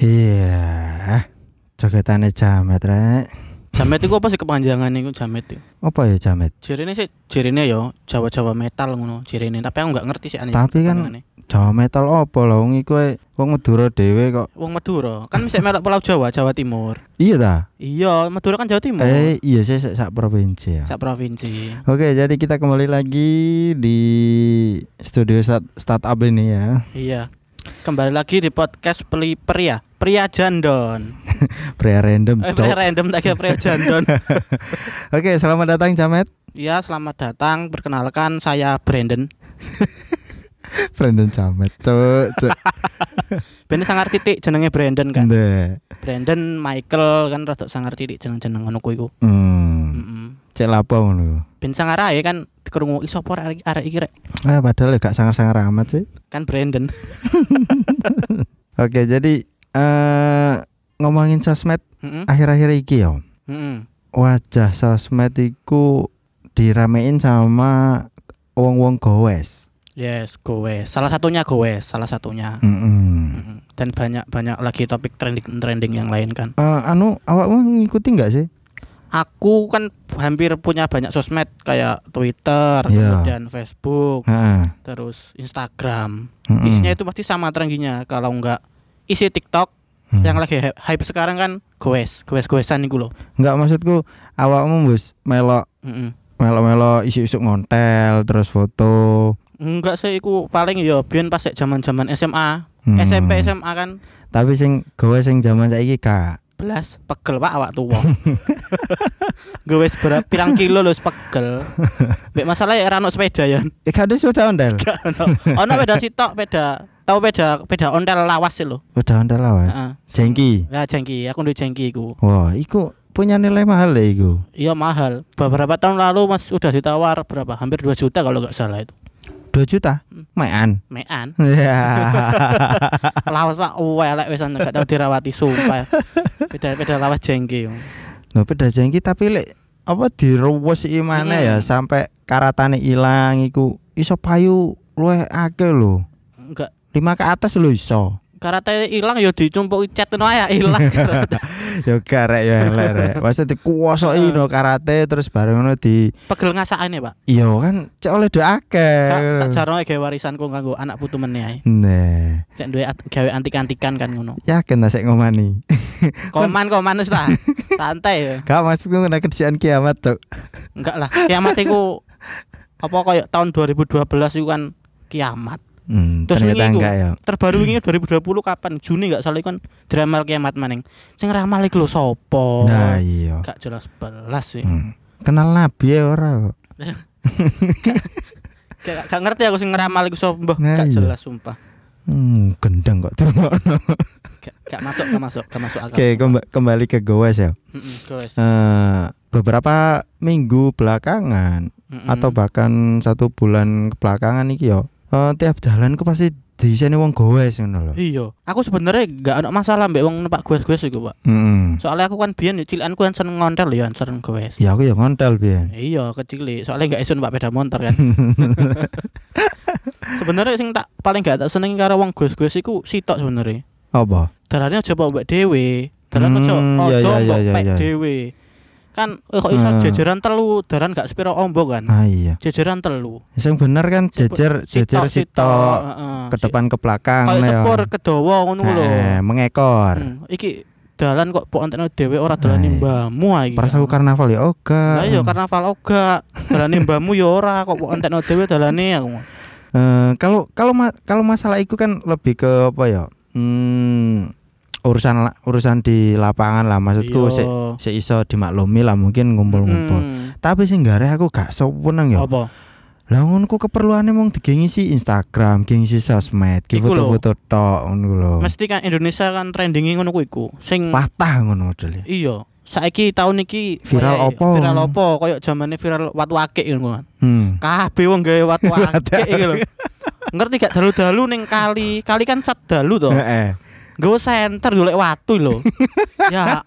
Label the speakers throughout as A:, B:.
A: Iya. Jogetane jamet rek.
B: Jamet itu apa sih kepanjangannya itu jamet itu?
A: Apa ya jamet?
B: Jirine sih jirine ya Jawa-Jawa metal ngono jirine, tapi aku nggak ngerti sih aneh.
A: Tapi kan-
B: kepanjangannya.
A: Jawa metal apa lho wong iku e- wong Madura dhewe kok.
B: wong Madura kan bisa melok Pulau Jawa, Jawa Timur.
A: Iya ta?
B: Iya, Madura kan Jawa Timur.
A: Eh iya sih sak sak provinsi ya.
B: Sak provinsi.
A: Oke, jadi kita kembali lagi di studio start- startup ini ya.
B: Iya. Kembali lagi di podcast Peli Pria, Pria Jandon.
A: Pria random.
B: Eh,
A: Cok.
B: pria random tak kira Pria Jandon.
A: Oke, selamat datang Jamet.
B: Iya, selamat datang. Perkenalkan saya Brandon.
A: Brandon Jamet. Cuk, cuk.
B: Ben sangar titik jenenge Brandon kan.
A: Ndek.
B: Brandon Michael kan rada sangar titik jeneng-jeneng ngono kuwi ku.
A: Hmm.
B: Heeh.
A: Cek lapo ngono.
B: Ben sangar ae kan dikerungu iso apa arek arek iki rek.
A: Ah, padahal ya gak sangar-sangar amat sih.
B: Kan Brandon.
A: Oke, jadi eh ngomongin sosmed
B: Heeh.
A: akhir-akhir iki ya.
B: Heeh.
A: Wajah sosmed iku diramein sama wong-wong gowes.
B: Yes, goes. Salah satunya goes, salah satunya.
A: Mm-mm.
B: Mm-mm. Dan banyak-banyak lagi topik trending-trending yang lain kan.
A: Eh, anu awakmu ngikuti nggak sih?
B: Aku kan hampir punya banyak sosmed kayak Twitter,
A: Iya.
B: kemudian Facebook,
A: Heeh.
B: terus Instagram.
A: Mm-mm.
B: Isinya itu pasti sama trendingnya. Kalau enggak isi TikTok
A: Hmm.
B: yang lagi hy- hype sekarang kan goes, goes-goesan iku loh.
A: nggak maksudku awakmu bus melok
B: Mm-mm.
A: melok-melok isu-isu ngontel terus foto.
B: Enggak sih iku paling ya biyen pas zaman-zaman SMA,
A: Hmm.
B: SMP SMA kan
A: Tapi sing gowes sing zaman saiki gak
B: belas pegel pak awak tuwa gue wis berapa pirang kilo lho wis pegel Mbak masalah ya rano sepeda ya
A: Eh, gak ada sepeda ondel.
B: ono peda sitok peda tau peda peda ontel lawas sih lo
A: Sepeda ondel awas.
B: Heeh.
A: Jengki.
B: ya jengki aku duwe jengki iku
A: Wah, iku punya nilai mahal ya iku.
B: iya mahal beberapa tahun lalu mas udah ditawar berapa hampir 2 juta kalau nggak salah itu
A: 2 juta.
B: Hmm.
A: Mean.
B: mean
A: Ya.
B: lawas pak welek wis nggak tau dirawati sumpah peda peda lawas jengki
A: Lho peda jengki tapi lek apa direwas iki maneh ya
B: Mm.
A: sampai karatane ilang iku iso payu luwih akeh lho.
B: enggak
A: Lima ke atas lho iso.
B: karate ilang ya dicumpuk cat no ya ilang
A: ya karek ya elek rek. Masa dikuwasoi no karate terus bareng ngono di
B: pegel ngasakane pak
A: iya kan cek oleh do akeh.
B: Kak, tak jarno gawe warisanku kanggo anak putu meneh ae.
A: Nah,
B: Cek duwe at- gawe antik-antikan kan ngono.
A: yakin ta sik ngomani.
B: Koman koman wis ta. Santai ya.
A: Gak maksudku ngene kedisian kiamat, Cuk.
B: Enggak lah. Kiamat iku apa koyo tahun 2012 itu kan kiamat.
A: Hmm,
B: Terus
A: ternyata
B: wingi iku-
A: enggak ya.
B: Terbaru ini 2020 kapan? Juni enggak salah iku kan drama kiamat maning. Sing ramal iku lho sapa?
A: Nah, iya.
B: Oh, Gak jelas belas sih.
A: Hmm. Kenal nabi ya ora kok.
B: Gak, gak ngerti aku sing ngeramal iku sapa. Mbah,
A: Nah,
B: Gak
A: iya.
B: jelas sumpah.
A: Hmm, gendeng kok dirungokno.
B: Gak, gak masuk, gak masuk, gak masuk akal.
A: Oke, kemba- kembali ke goes ya.
B: Mm-mm, guys.
A: Eh, beberapa minggu belakangan
B: Mm-mm.
A: atau bahkan satu bulan belakangan iki yo eh, tiap jalan ku pasti diiseni wong gowes ngono lho.
B: Iya, aku sebenarnya gak ada masalah mbek wong numpak gue-gue iku, Pak.
A: Mm-mm.
B: Soalnya aku kan biyen cilikanku kan seneng ngontel ya, seneng gue.
A: Ya aku ya ngontel biyen.
B: Iya, kecil. Soalnya gak iso numpak peda motor kan. sebenarnya sing tak paling gak tak seneng karo wong gue-gue iku sitok sebenarnya.
A: Apa?
B: Dalane aja mbok mbek dhewe. Dalan
A: Hmm,
B: aja
A: iya,
B: aja
A: iya,
B: mbok
A: iya,
B: mbek
A: iya.
B: dhewe. Kan eh, kok iso
A: Ah.
B: jajaran telu, dalan gak sepiro ombo kan.
A: Ah iya.
B: Jajaran telu.
A: Sing bener kan jejer jejer sitok
B: heeh.
A: ke depan ke belakang
B: Ah, Kayak
A: ya.
B: sepur kedawa ngono ku lho.
A: Eh, mengekor.
B: Hmm, iki dalan kok pok enteno dhewe ora
A: Nah,
B: dalane
A: iya.
B: mbamu ae. iki.
A: Pas aku karnaval ya oga.
B: Lah iya karnaval oga. Dalane mbamu ya ora kok pok enteno dhewe dalane aku.
A: Eh, kalau kalau ma- kalau masalah itu kan lebih ke apa ya? Hmm, urusan la- urusan di lapangan lah maksudku
B: Iya.
A: sik sik iso dimaklumi lah mungkin ngumpul-ngumpul.
B: Mm-mm.
A: Tapi sing nggare aku gak seneng ya.
B: Hmm. Apa?
A: Lah ngono keperluane mung digengi si Instagram, gengsi sosmed, ki
B: Iku lho.
A: foto-foto tok ngono ku lho.
B: Mesti kan Indonesia kan trendingi ngono ku iku. Sing
A: Patah ngono modele.
B: iya. Saiki tahun iki
A: Viral
B: kayak-
A: apa?
B: Viral opo? Kayak zamane viral watu akik ngono kan.
A: Hmm.
B: Kabeh wong gawe watu
A: Watu
B: akik iki lho. Ngerti gak dalu-dalu ning kali. Kali kan cat dalu to.
A: Heeh.
B: Gue senter golek watu lho. ya Allah,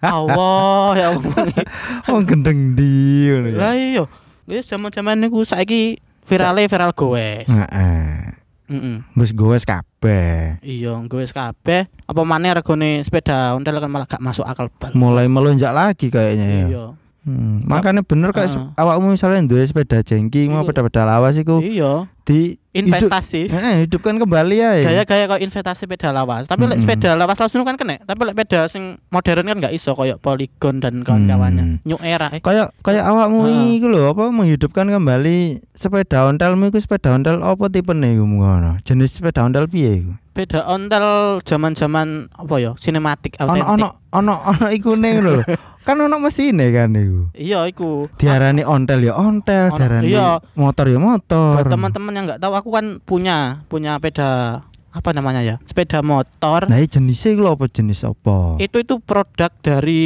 B: ya Allah. iya.
A: Wong Oh, gendeng di ngono ya.
B: Lah iya. Wis zaman-zaman niku saiki virale viral goes.
A: Heeh.
B: Heeh.
A: wis gowes kabeh.
B: Iya, nggo wis kabeh. Apa maneh regane sepeda ontel kan malah gak masuk akal bal.
A: Mulai melonjak lagi kayaknya ya.
B: Iya.
A: Hmm, makanya bener kayak
B: Heeh.
A: awakmu misalnya duwe sepeda jengking mau
B: Iku-
A: sepeda lawas iku
B: Iya,
A: di
B: investasi.
A: eh, hidupkan kembali ya.
B: Gaya-gaya kok investasi sepeda lawas. Tapi
A: Mm-mm.
B: lek sepeda lawas langsung kan kena. Tapi lek sepeda sing modern kan gak iso koyo Polygon dan kawan-kawannya.
A: Hmm.
B: New era. Eh.
A: Kayak kayak awakmu
B: Heeh.
A: iku lho apa menghidupkan kembali sepeda ontelmu iku sepeda ontel apa tipene iku ngono? Jenis sepeda ontel piye iku?
B: Sepeda ontel zaman-zaman apa ya? Sinematik
A: Ono ono
B: autentik.
A: ono ono ikune lho. Kan ono mesine kan iku.
B: Iya, iku.
A: Diarani ontel ya ontel,
B: Ono-
A: diarani
B: iya.
A: motor ya motor.
B: Buat teman-teman yang nggak tahu, aku kan punya punya sepeda apa namanya ya? Sepeda motor.
A: Nah, iki jenise iku lho apa jenis apa?
B: Itu itu produk dari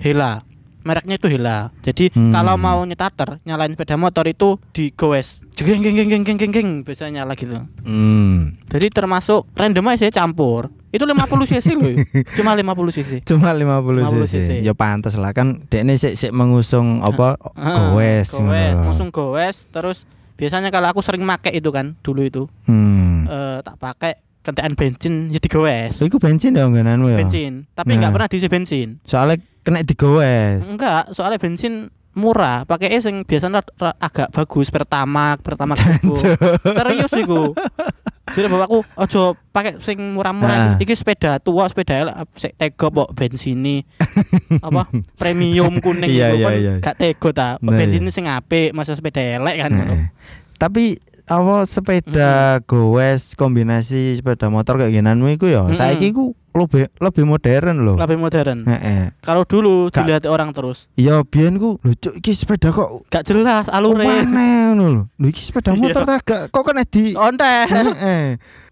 B: Hela. Mereknya itu Hela. Jadi
A: Hmm.
B: kalau mau nyetater, nyalain sepeda motor itu digowes. Jeng jeng jeng jeng jeng jeng jeng biasanya nyala gitu.
A: Hmm.
B: Jadi termasuk randomize campur. Itu 50 cc loh. Cuma 50 cc.
A: Cuma 50 cc.
B: 50 cc.
A: Ya pantes lah kan dekne sik sik mengusung apa
B: Ah,
A: gowes ngono.
B: Gowes, langsung gowes terus biasanya kalau aku sering make itu kan dulu itu
A: Hmm.
B: eh, tak pakai kentekan bensin ya digowes.
A: Iku bensin ya nggonanmu ya.
B: Bensin, tapi
A: Nah.
B: nggak pernah diisi bensin.
A: Soalnya kena digowes.
B: Enggak, soalnya bensin murah. Pakai E sing biasanya ra- ra- agak bagus pertama, pertama
A: Jancuk.
B: Serius iku. Jadi bapakku ojo pakai sing
A: Ah.
B: murah-murah. Iki sepeda tua, sepeda elek sik tega kok bensini. apa premium kuning
A: Iya,
B: iku
A: iya,
B: kan
A: iya.
B: gak tega ta.
A: Nah,
B: Bensinnya sing apik, masa sepeda elek kan ngono.
A: Heeh. Tapi apa sepeda gowes kombinasi sepeda motor kayak ginanmu iku ya.
B: Mm-mm.
A: Saiki iku lebih lebih modern loh.
B: Lebih modern.
A: Heeh.
B: Kalau dulu
A: Gak-
B: dilihat orang terus,
A: Ya biyen ku lho Cuk, iki sepeda kok
B: gak jelas alure.
A: aneh ngono lho. Lho iki sepeda
B: Iya. Oh.
A: motor ta gak kok kena di
B: Onte.
A: Heeh.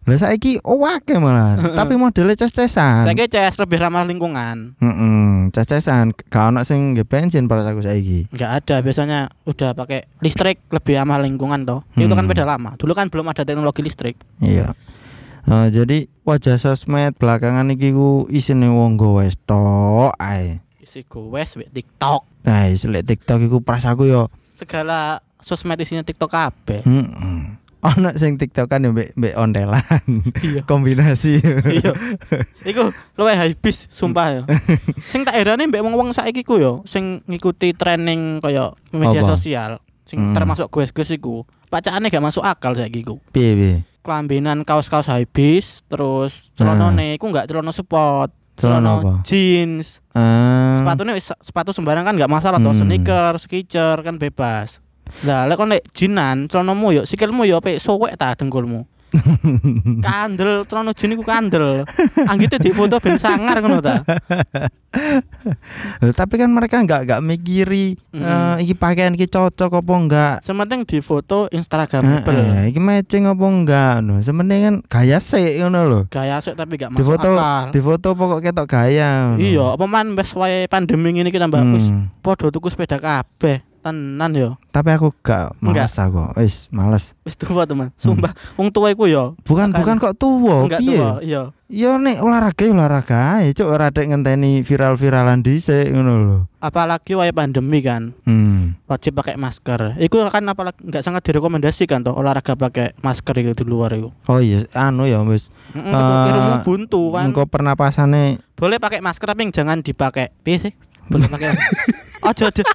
A: Lah saiki owake malah, tapi modelnya ces-cesan.
B: Saya CS lebih ramah lingkungan.
A: Heeh, ces-cesan. Gak ono sing nggih bensin para aku saiki.
B: nggak ada biasanya udah pakai listrik lebih ramah lingkungan toh itu kan
A: Hmm.
B: beda lama dulu kan belum ada teknologi listrik
A: Iya. Eh, jadi wajah sosmed belakangan iki ku isine wong gowes tok ae.
B: isi gowes wek tiktok
A: Nah, selek TikTok iku prasaku yo.
B: segala sosmed isinya tiktok kabeh
A: Heeh. Ono sing TikTokan yo mbek mbek ondelan.
B: iya
A: Kombinasi.
B: iya iku luwe habis sumpah ya sing tak herane mbek wong-wong saiki ku yo sing ngikuti training kaya media
A: Apa?
B: sosial sing
A: Hmm.
B: termasuk gowes-gowes iku pacakane gak masuk akal saiki ku
A: Piye piye?
B: kelambinan kaos-kaos habis terus
A: Nah.
B: celonone iku gak celono sport
A: Celana apa?
B: jeans
A: Eh,
B: sepatunya wis- sepatu sembarang kan nggak masalah toh
A: Hmm.
B: sneaker skitcher kan bebas lah lek kon lek jinan celanamu yo sikilmu yo apik sowek ta dengkulmu kandel celana jin iku kandel anggite di foto ben sangar ngono ta
A: eh, tapi kan mereka nggak nggak mikiri eh
B: Mm.
A: iki pakaian iki cocok apa enggak
B: sementing di foto instagramable
A: Heeh, iki matching apa enggak no. Sementing kan gaya sik ngono lho.
B: gaya asik tapi gak
A: Di
B: masuk
A: foto-
B: akal
A: Di foto pokok ketok gaya ngono.
B: iya apa man wis wae pandemi ngene iki tambah wis
A: Hmm.
B: padha tuku sepeda kabeh tenan yo
A: Tapi aku gak
B: Enggak.
A: males aku. Wis, males.
B: wis tua teman sumpah wong tua iku yo
A: Bukan
B: Makan.
A: bukan kok tuwa,
B: enggak
A: Hmm.
B: tua
A: Oh, piye?
B: iya
A: Ya nek olahraga ya olahraga ae, cuk ora dek ngenteni viral-viralan dhisik ngono lho.
B: apalagi wae pandemi kan
A: Hmm.
B: wajib pakai masker. Itu kan apalagi nggak sangat direkomendasikan toh olahraga pakai masker itu di luar itu.
A: Oh iya, anu ya wis.
B: Mm
A: Eh,
B: uh, buntu kan.
A: Engko pernapasane
B: Boleh pakai masker tapi jangan dipakai. Piye sih? Boleh pakai. Ojo di-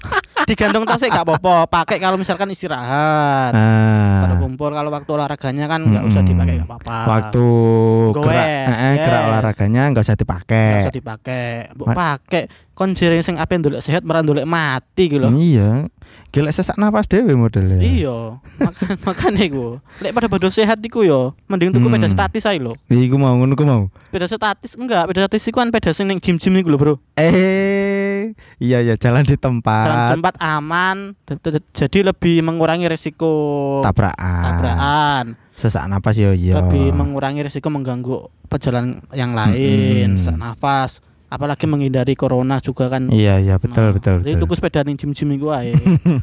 B: digantung tas sih nggak apa-apa. Pakai kalau misalkan
A: eh,
B: istirahat. Kalau
A: ah,
B: kumpul kalau waktu olahraganya kan nggak usah
A: Mm-mm.
B: dipakai nggak apa-apa.
A: waktu
B: Gowes,
A: gerak, eh, gerak
B: yes.
A: olahraganya enggak usah
B: nggak
A: dipakai.
B: usah dipakai. Mbok
A: Ma-
B: pakai kon jering sing ape ndolek sehat malah ndolek mati gitu loh.
A: Iya. Gila sesak napas dhewe modelnya.
B: Iya, makan makane iku. Lek pada bodo sehat iku yo, mending tuku sepeda
A: Hmm.
B: statis ae lho.
A: Iku mau ngono ku mau.
B: Beda statis enggak, beda statis itu kan beda sing ning gym-gym iku lho, Bro.
A: Eh, iya ya jalan di
B: Jalan
A: tempat
B: tempat aman, d- d- d- jadi lebih mengurangi resiko
A: tabrakan.
B: tabrakan,
A: Sesak napas yo yo.
B: lebih mengurangi resiko mengganggu pejalan yang lain,
A: Mm-mm.
B: sesak nafas, apalagi menghindari corona juga kan.
A: Iya iya betul
B: Nah,
A: betul
B: Jadi
A: betul.
B: tuku sepeda ning gym-gym iku ae.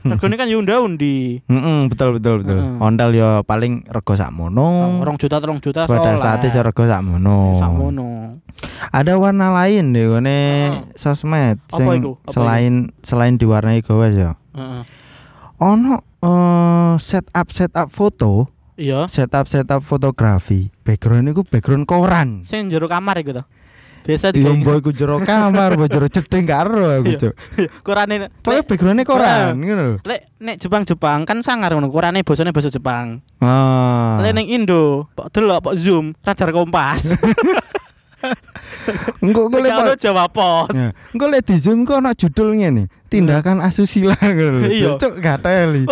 B: Regane kan yo undi
A: Mm-mm, betul betul betul.
B: Mm.
A: Ondal yo paling rego sakmono.
B: 2 juta 3 juta
A: Hmm.
B: Ya,
A: Sepeda
B: soalnya.
A: statis yo rego sakmono.
B: Sakmono.
A: Ada warna lain deh ngene sosmed
B: Apa
A: sing
B: iku? Apa
A: selain selain ya. diwarnai gowes yo.
B: Heeh.
A: Ono eh, setup setup foto
B: Iya.
A: setup setup fotografi background itu background koran
B: Sing jero kamar iku to. Biasa
A: Iya
B: digawe
A: boy ku jero kamar boy jero cedeng karo aku
B: Iya.
A: cuk
B: kurane.
A: pokoknya backgroundnya koran ngono lho.
B: Lek nek Jepang-Jepang kan sangar ngono, kurane basane basa Jepang.
A: ah
B: Lek ning Indo, pok delok pok zoom, radar kompas.
A: engko engko lek
B: Kalau Jawa pos.
A: Ya, engko lek di zoom kok ana judul ngene tindakan asusila ngono
B: Iya.
A: lho cuk gak teli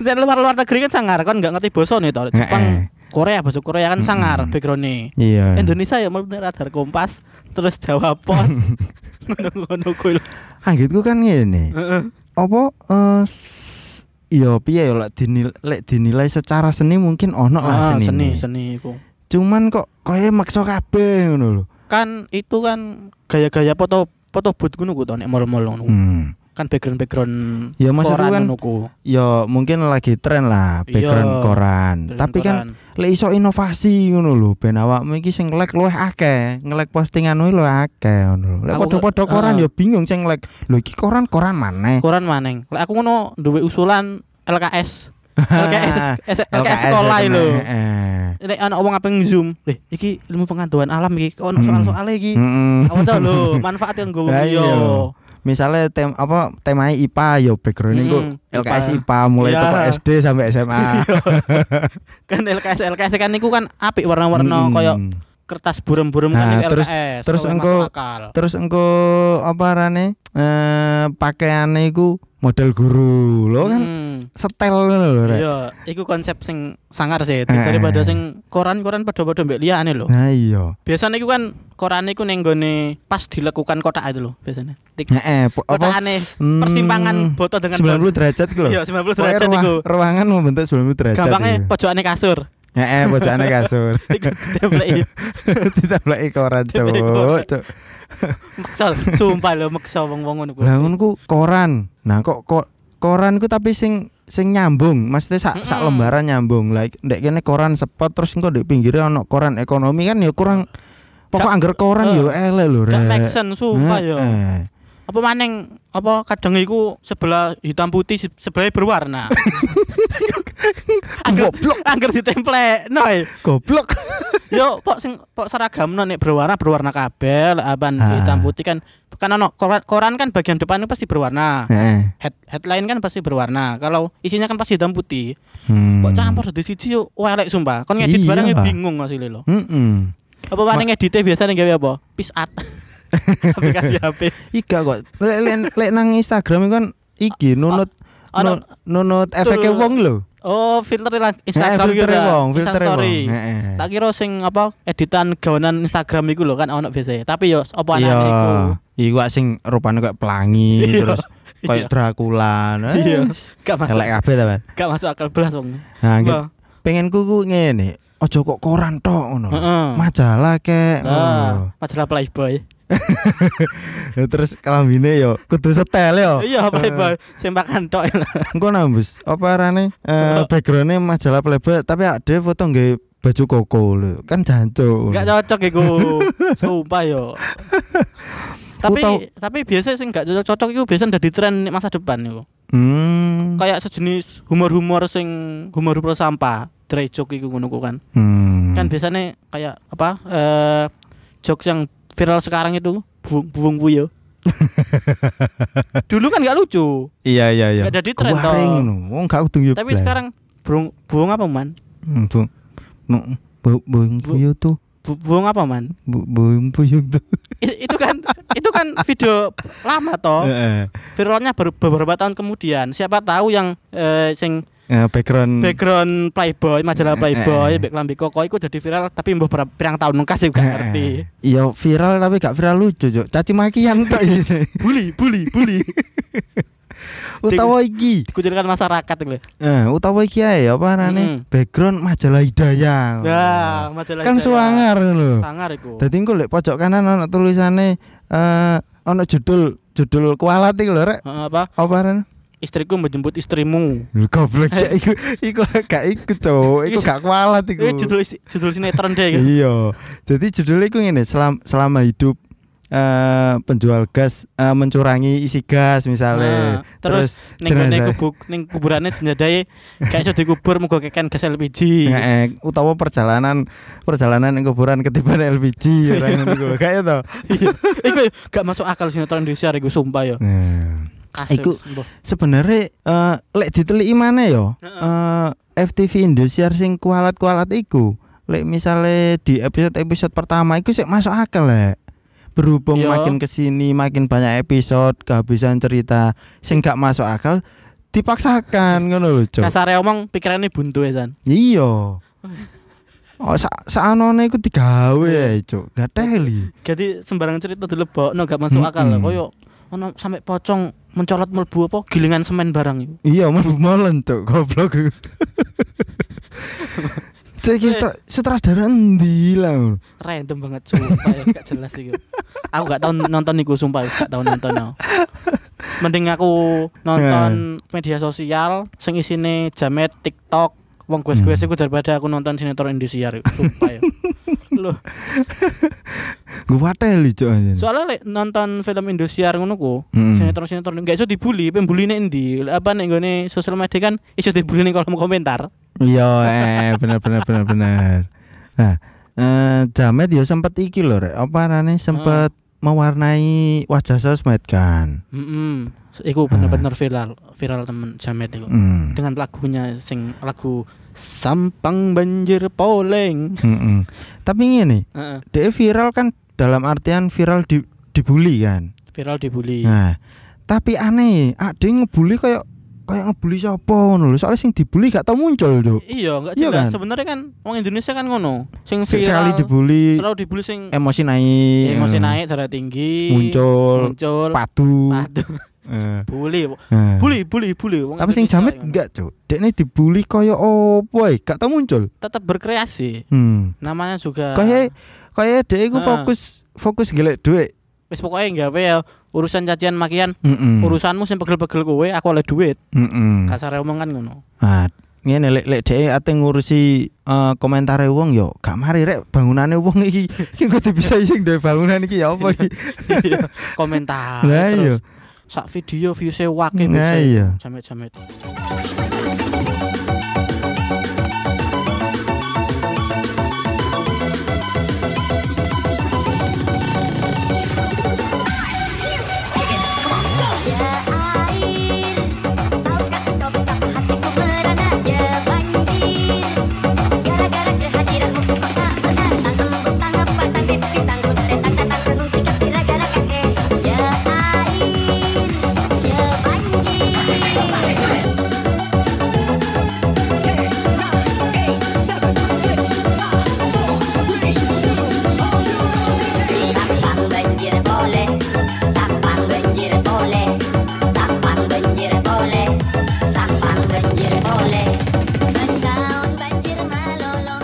B: Jan luar-luar negeri kan sangar kan nggak ngerti basa nih to. Lek Jepang, Korea, basa Korea kan sangar
A: Mm-mm.
B: background-e.
A: iya
B: Indonesia ya mlebu radar kompas, terus Jawa pos. Ngono-ngono kuwi. lho.
A: anggitku kan ngene
B: Heeh.
A: apa eh s- Iya piye ya lek dinilai, lek dinilai secara seni mungkin ono
B: Ah,
A: lah seni.
B: seni, seni iku.
A: Cuman kok koyo maksa kabeh ngono lho.
B: kan itu kan gaya-gaya foto foto booth ngono ku to nek mall-mall ngono.
A: Hmm.
B: Kan background-background
A: Ya maksudku
B: koran
A: kan
B: ngono ku.
A: ya mungkin lagi tren lah background koran.
B: Iya. Background
A: Tapi kan
B: koran.
A: lek iso inovasi ngono lho ben awakmu iki sing like luwih akeh, nge-like postingan luwih akeh ngono lho. Lek
B: Aku nge-
A: padha-padha koran
B: Ah.
A: ya bingung sing like lho iki koran koran maneh.
B: koran maneng. Lek aku ngono duwe usulan LKS. LKS S- LKS sekolah
A: ya
B: lho.
A: kena, eh.
B: Nek ana wong apa zoom, leh iki ilmu pengetahuan alam iki kok ono
A: Mm.
B: soal-soal iki.
A: Mm-mm.
B: Aku tau lho, manfaat yang gue
A: Lah iya.
B: yo.
A: Misalnya tem apa temanya IPA yo background iku
B: Mm,
A: LKS
B: IPA.
A: IPA mulai
B: Iya.
A: toko SD sampai SMA.
B: Kan LKS LKS kan niku kan apik warna-warna
A: Mm-mm.
B: koyo kertas burem-burem
A: Hmm.
B: kan
A: Nah,
B: niku
A: terus-
B: LKS.
A: terus
B: koyo
A: engko-
B: masuk akal.
A: Terus engko apa arane? Eh pakaiane iku model guru. Lo kan
B: Mm.
A: setel ngono lho. Rek.
B: Iya, iku konsep sing sangar sih
A: Eh.
B: daripada sing koran-koran padha-padha mbek liyane lho.
A: Nah iya.
B: Biasanya iku kan koran iku ning nggone pas dilekukan kotak itu lho biasanya. Tik
A: Heeh, Nah, eh, po- apa?
B: kotakane
A: Hmm,
B: persimpangan boto dengan
A: 90 derajat ku lho.
B: Iya, 90
A: Pokoknya
B: derajat
A: ruang-
B: iku.
A: Ruangan membentuk 90 derajat. iya.
B: Gampangnya
A: iku.
B: pojokane kasur.
A: Heeh, pojokane kasur.
B: Iku ditempleki.
A: Ditapleki koran
B: Ditapleki koran.
A: cuk. cuk.
B: Maksa, sumpah lho maksa wong-wong ngono
A: Lah
B: kuwi.
A: ngono ku koran. Nah kok kok koran ku tapi sing sing nyambung, maksudnya sak sak
B: Mm-mm.
A: lembaran nyambung. Lah iki- ndek kene koran sepot terus engko ndek pinggire ono koran ekonomi kan ya kurang pokok
B: Gak-
A: angger koran
B: eh,
A: yo elek lho
B: Gak
A: rek.
B: make sense sumpah yo.
A: Heeh.
B: Apa maning apa kadang iku sebelah hitam putih se- sebelahnya berwarna. Angger
A: Goblok,
B: angger ditemplek. Noi.
A: goblok.
B: Yo, pok sing pok seragamno nek berwarna berwarna kabel, aban
A: Ah.
B: hitam putih kan kan ono koran, koran kan bagian depan itu pasti berwarna.
A: Heeh.
B: Head, headline kan pasti berwarna. Kalau isinya kan pasti hitam putih.
A: Hmm.
B: Pok campur di siji yo elek sumpah. Kon ngedit
A: Iya,
B: barang yo
A: Pak.
B: bingung hasilnya lo.
A: Heeh.
B: Apa paling ngeditnya biasanya gawe apa? Pis art. Aplikasi HP.
A: Iga kok. Lek lek lek nang Instagram iku kan iki nunut
B: Oh, Ono
A: nun- nunut efek
B: Betul.
A: wong lho.
B: oh filter lah Instagram
A: Heeh, filtere
B: gitu lah.
A: Eh, wong,
B: Insta
A: filtere wong. Eh.
B: story.
A: Heeh.
B: Tak kira sing apa editan gawanan Instagram iku lho kan ono biasanya. Tapi yo apa
A: Iya.
B: anane iku.
A: Iku wak sing rupane kayak pelangi
B: Iya.
A: terus kayak Dracula.
B: Iya.
A: Eh,
B: Gak masuk,
A: Elek kabeh ta, Pak.
B: gak masuk akal belas wong.
A: Nah, gitu.
B: Wah.
A: pengenku ku ngene. Ojo kok koran tok ngono. lho.
B: Heeh.
A: Majalah kek. ngono.
B: Ah, majalah Playboy.
A: Ya, Terus kelambine yo kudu setel yo.
B: Iya, Playboy. Sempakan tok.
A: Engko nambus apa arane? Eh backgroundnya majalah Playboy tapi ade foto nggae baju koko lho. Kan jancuk.
B: Gak cocok iku. Sumpah yo. Tapi
A: Utau-
B: tapi biasa sing gak cocok-cocok iku biasa dari tren masa depan iku.
A: Hmm.
B: Kayak sejenis humor-humor sing humor-humor sampah, dry joke iku ngono ku kan.
A: Hmm.
B: Kan biasanya kayak apa? Eh jokes yang viral sekarang itu buung-buung yo. Dulu kan gak lucu,
A: iya iya iya.
B: gak ada di tren toh.
A: Kuwaring ngono. Wong gak kudu yo.
B: Tapi
A: blay.
B: sekarang burung buung apa man?
A: Hmm, bu bu bu bu- bu- yo tuh.
B: Bu- buung apa man?
A: Bu bu bu yo tuh.
B: I- itu kan itu kan video lama toh
A: Heeh.
B: viralnya baru beberapa tahun kemudian siapa tahu yang eh, sing
A: Eh, background
B: background playboy
A: Eh,
B: majalah
A: eh,
B: playboy
A: eh.
B: back lambi koko itu jadi viral tapi mbah berapa pirang tahun nungkas
A: Heeh.
B: juga ngerti
A: Eh, Iya viral tapi gak viral lucu, Cuk. Caci makian tok isine.
B: bully bully bully
A: utawa iki.
B: dikucilkan masyarakat gitu
A: Eh, utawa iki ae apa arane?
B: Mm-mm.
A: Background majalah Hidayah.
B: nah Hmm. majalah
A: Oh. Kan
B: Hidayah.
A: suangar lho.
B: sangar iku
A: Dadi engko lek pojok kanan ana tulisane eh ana judul judul kualat iki lho rek.
B: Eh, apa
A: Apa arane?
B: istriku menjemput istrimu
A: Lho, Goblok Cuk. iku iku gak iku, Cuk. Iku gak kualat
B: Eh, Iya,
A: iku.
B: itu judul judul sinetron deh gitu.
A: Iya. Jadi judulnya iku ngene, selam, selama hidup eh, penjual gas eh, mencurangi isi gas
B: Nah,
A: misalnya
B: terus
A: Iya,
B: ning
A: jenazah.
B: gone kubuk ning kuburane jenazah gak iso dikubur muga keken gas LPG.
A: Heeh, eh, utawa perjalanan perjalanan yang kuburan ketiban LPG orang ngono lho kayak to.
B: Iku gak masuk akal sinetron Indonesia iku sumpah yo.
A: Nah,
B: Kasus.
A: Iku-
B: mbah.
A: sebenarnya eh, lek diteliki mana yo? Eh, FTV Indosiar sing kualat-kualat iku. Lek misale di episode-episode pertama iku sik masuk akal lek. Berhubung
B: Yo.
A: makin kesini makin banyak episode kehabisan cerita sing gak masuk akal dipaksakan ngono lho, Cok.
B: Kasare omong pikirannya buntu ya San.
A: Iya. Oh, sa saanone iku digawe ya, Cuk. Gak teli.
B: Jadi sembarang cerita dilebokno gak masuk akal lah
A: Mm-mm.
B: koyo ono sampe pocong mencolot melbu apa gilingan semen barang iku.
A: Iya, mau molen, Cuk. Goblok. Cuk, iki sutra- sutradara endi lah.
B: Random banget sumpah ya gak jelas iku. Aku gak tau nonton iku sumpah wis gak tau nonton. aku. Mending aku nonton media sosial sing isine jamet TikTok wong gue-gue
A: Hmm.
B: iku daripada aku nonton sinetron Indosiar iku, sumpah ya. Loh,
A: Gua teli, Cuk. anjir.
B: soalnya lek nonton film Indosiar ngono ku,
A: Mm-mm.
B: sinetron-sinetron gak iso dibully, pembuline endi? Lek Apa nek nggone sosial media kan iso dibully ning kolom komentar.
A: Iya, eh bener bener bener bener. Nah, eh Jamet yo sempat iki lho, Rek. Apa arane sempat
B: Hmm.
A: mewarnai wajah sosmed kan.
B: Heeh. Iku
A: Ah.
B: bener-bener viral, viral temen jamet iku.
A: Hmm.
B: Dengan lagunya sing lagu Sampang Banjir Poleng.
A: Mm-mm. Tapi ngene,
B: Heeh,
A: dia viral kan dalam artian viral di dibully kan.
B: viral dibully.
A: Nah, tapi aneh, ah dia ngebully kayak kayak ngebully siapa ngono lho. Soalnya sing dibully gak tau muncul, Cuk.
B: Iya, enggak
A: Iya
B: jelas.
A: kan?
B: Sebenarnya kan wong Indonesia kan ngono. Sing viral
A: Sekali dibully
B: selalu dibully sing
A: emosi naik,
B: emosi
A: eh,
B: naik darah tinggi,
A: muncul,
B: muncul,
A: patuh.
B: patuh.
A: eh,
B: bully,
A: eh.
B: bully, bully, bully. Wong
A: Tapi sing
B: Indonesia kan
A: jamet
B: ngono.
A: enggak, Cuk. Dekne dibully kaya opo ae, gak tau muncul.
B: tetap berkreasi.
A: Hmm.
B: Namanya juga
A: Kaya kaya dhek iku
B: Ah.
A: fokus fokus golek duit.
B: wis pokoknya gawe ya urusan cacian makian,
A: Heeh.
B: urusanmu sing pegel-pegel kowe, aku oleh duit.
A: Heeh.
B: Kasar omongan ngono.
A: Ah, ngene lek lek dhek ate ngurusi eh, komentare wong yo gak mari rek bangunane wong iki. Iki kudu bisa sing duwe bangunan iki ya opo iki.
B: Iya, Komentar.
A: Lah
B: terus
A: iya.
B: Sak video view-se wake
A: Nah, iya.
B: jamet-jamet.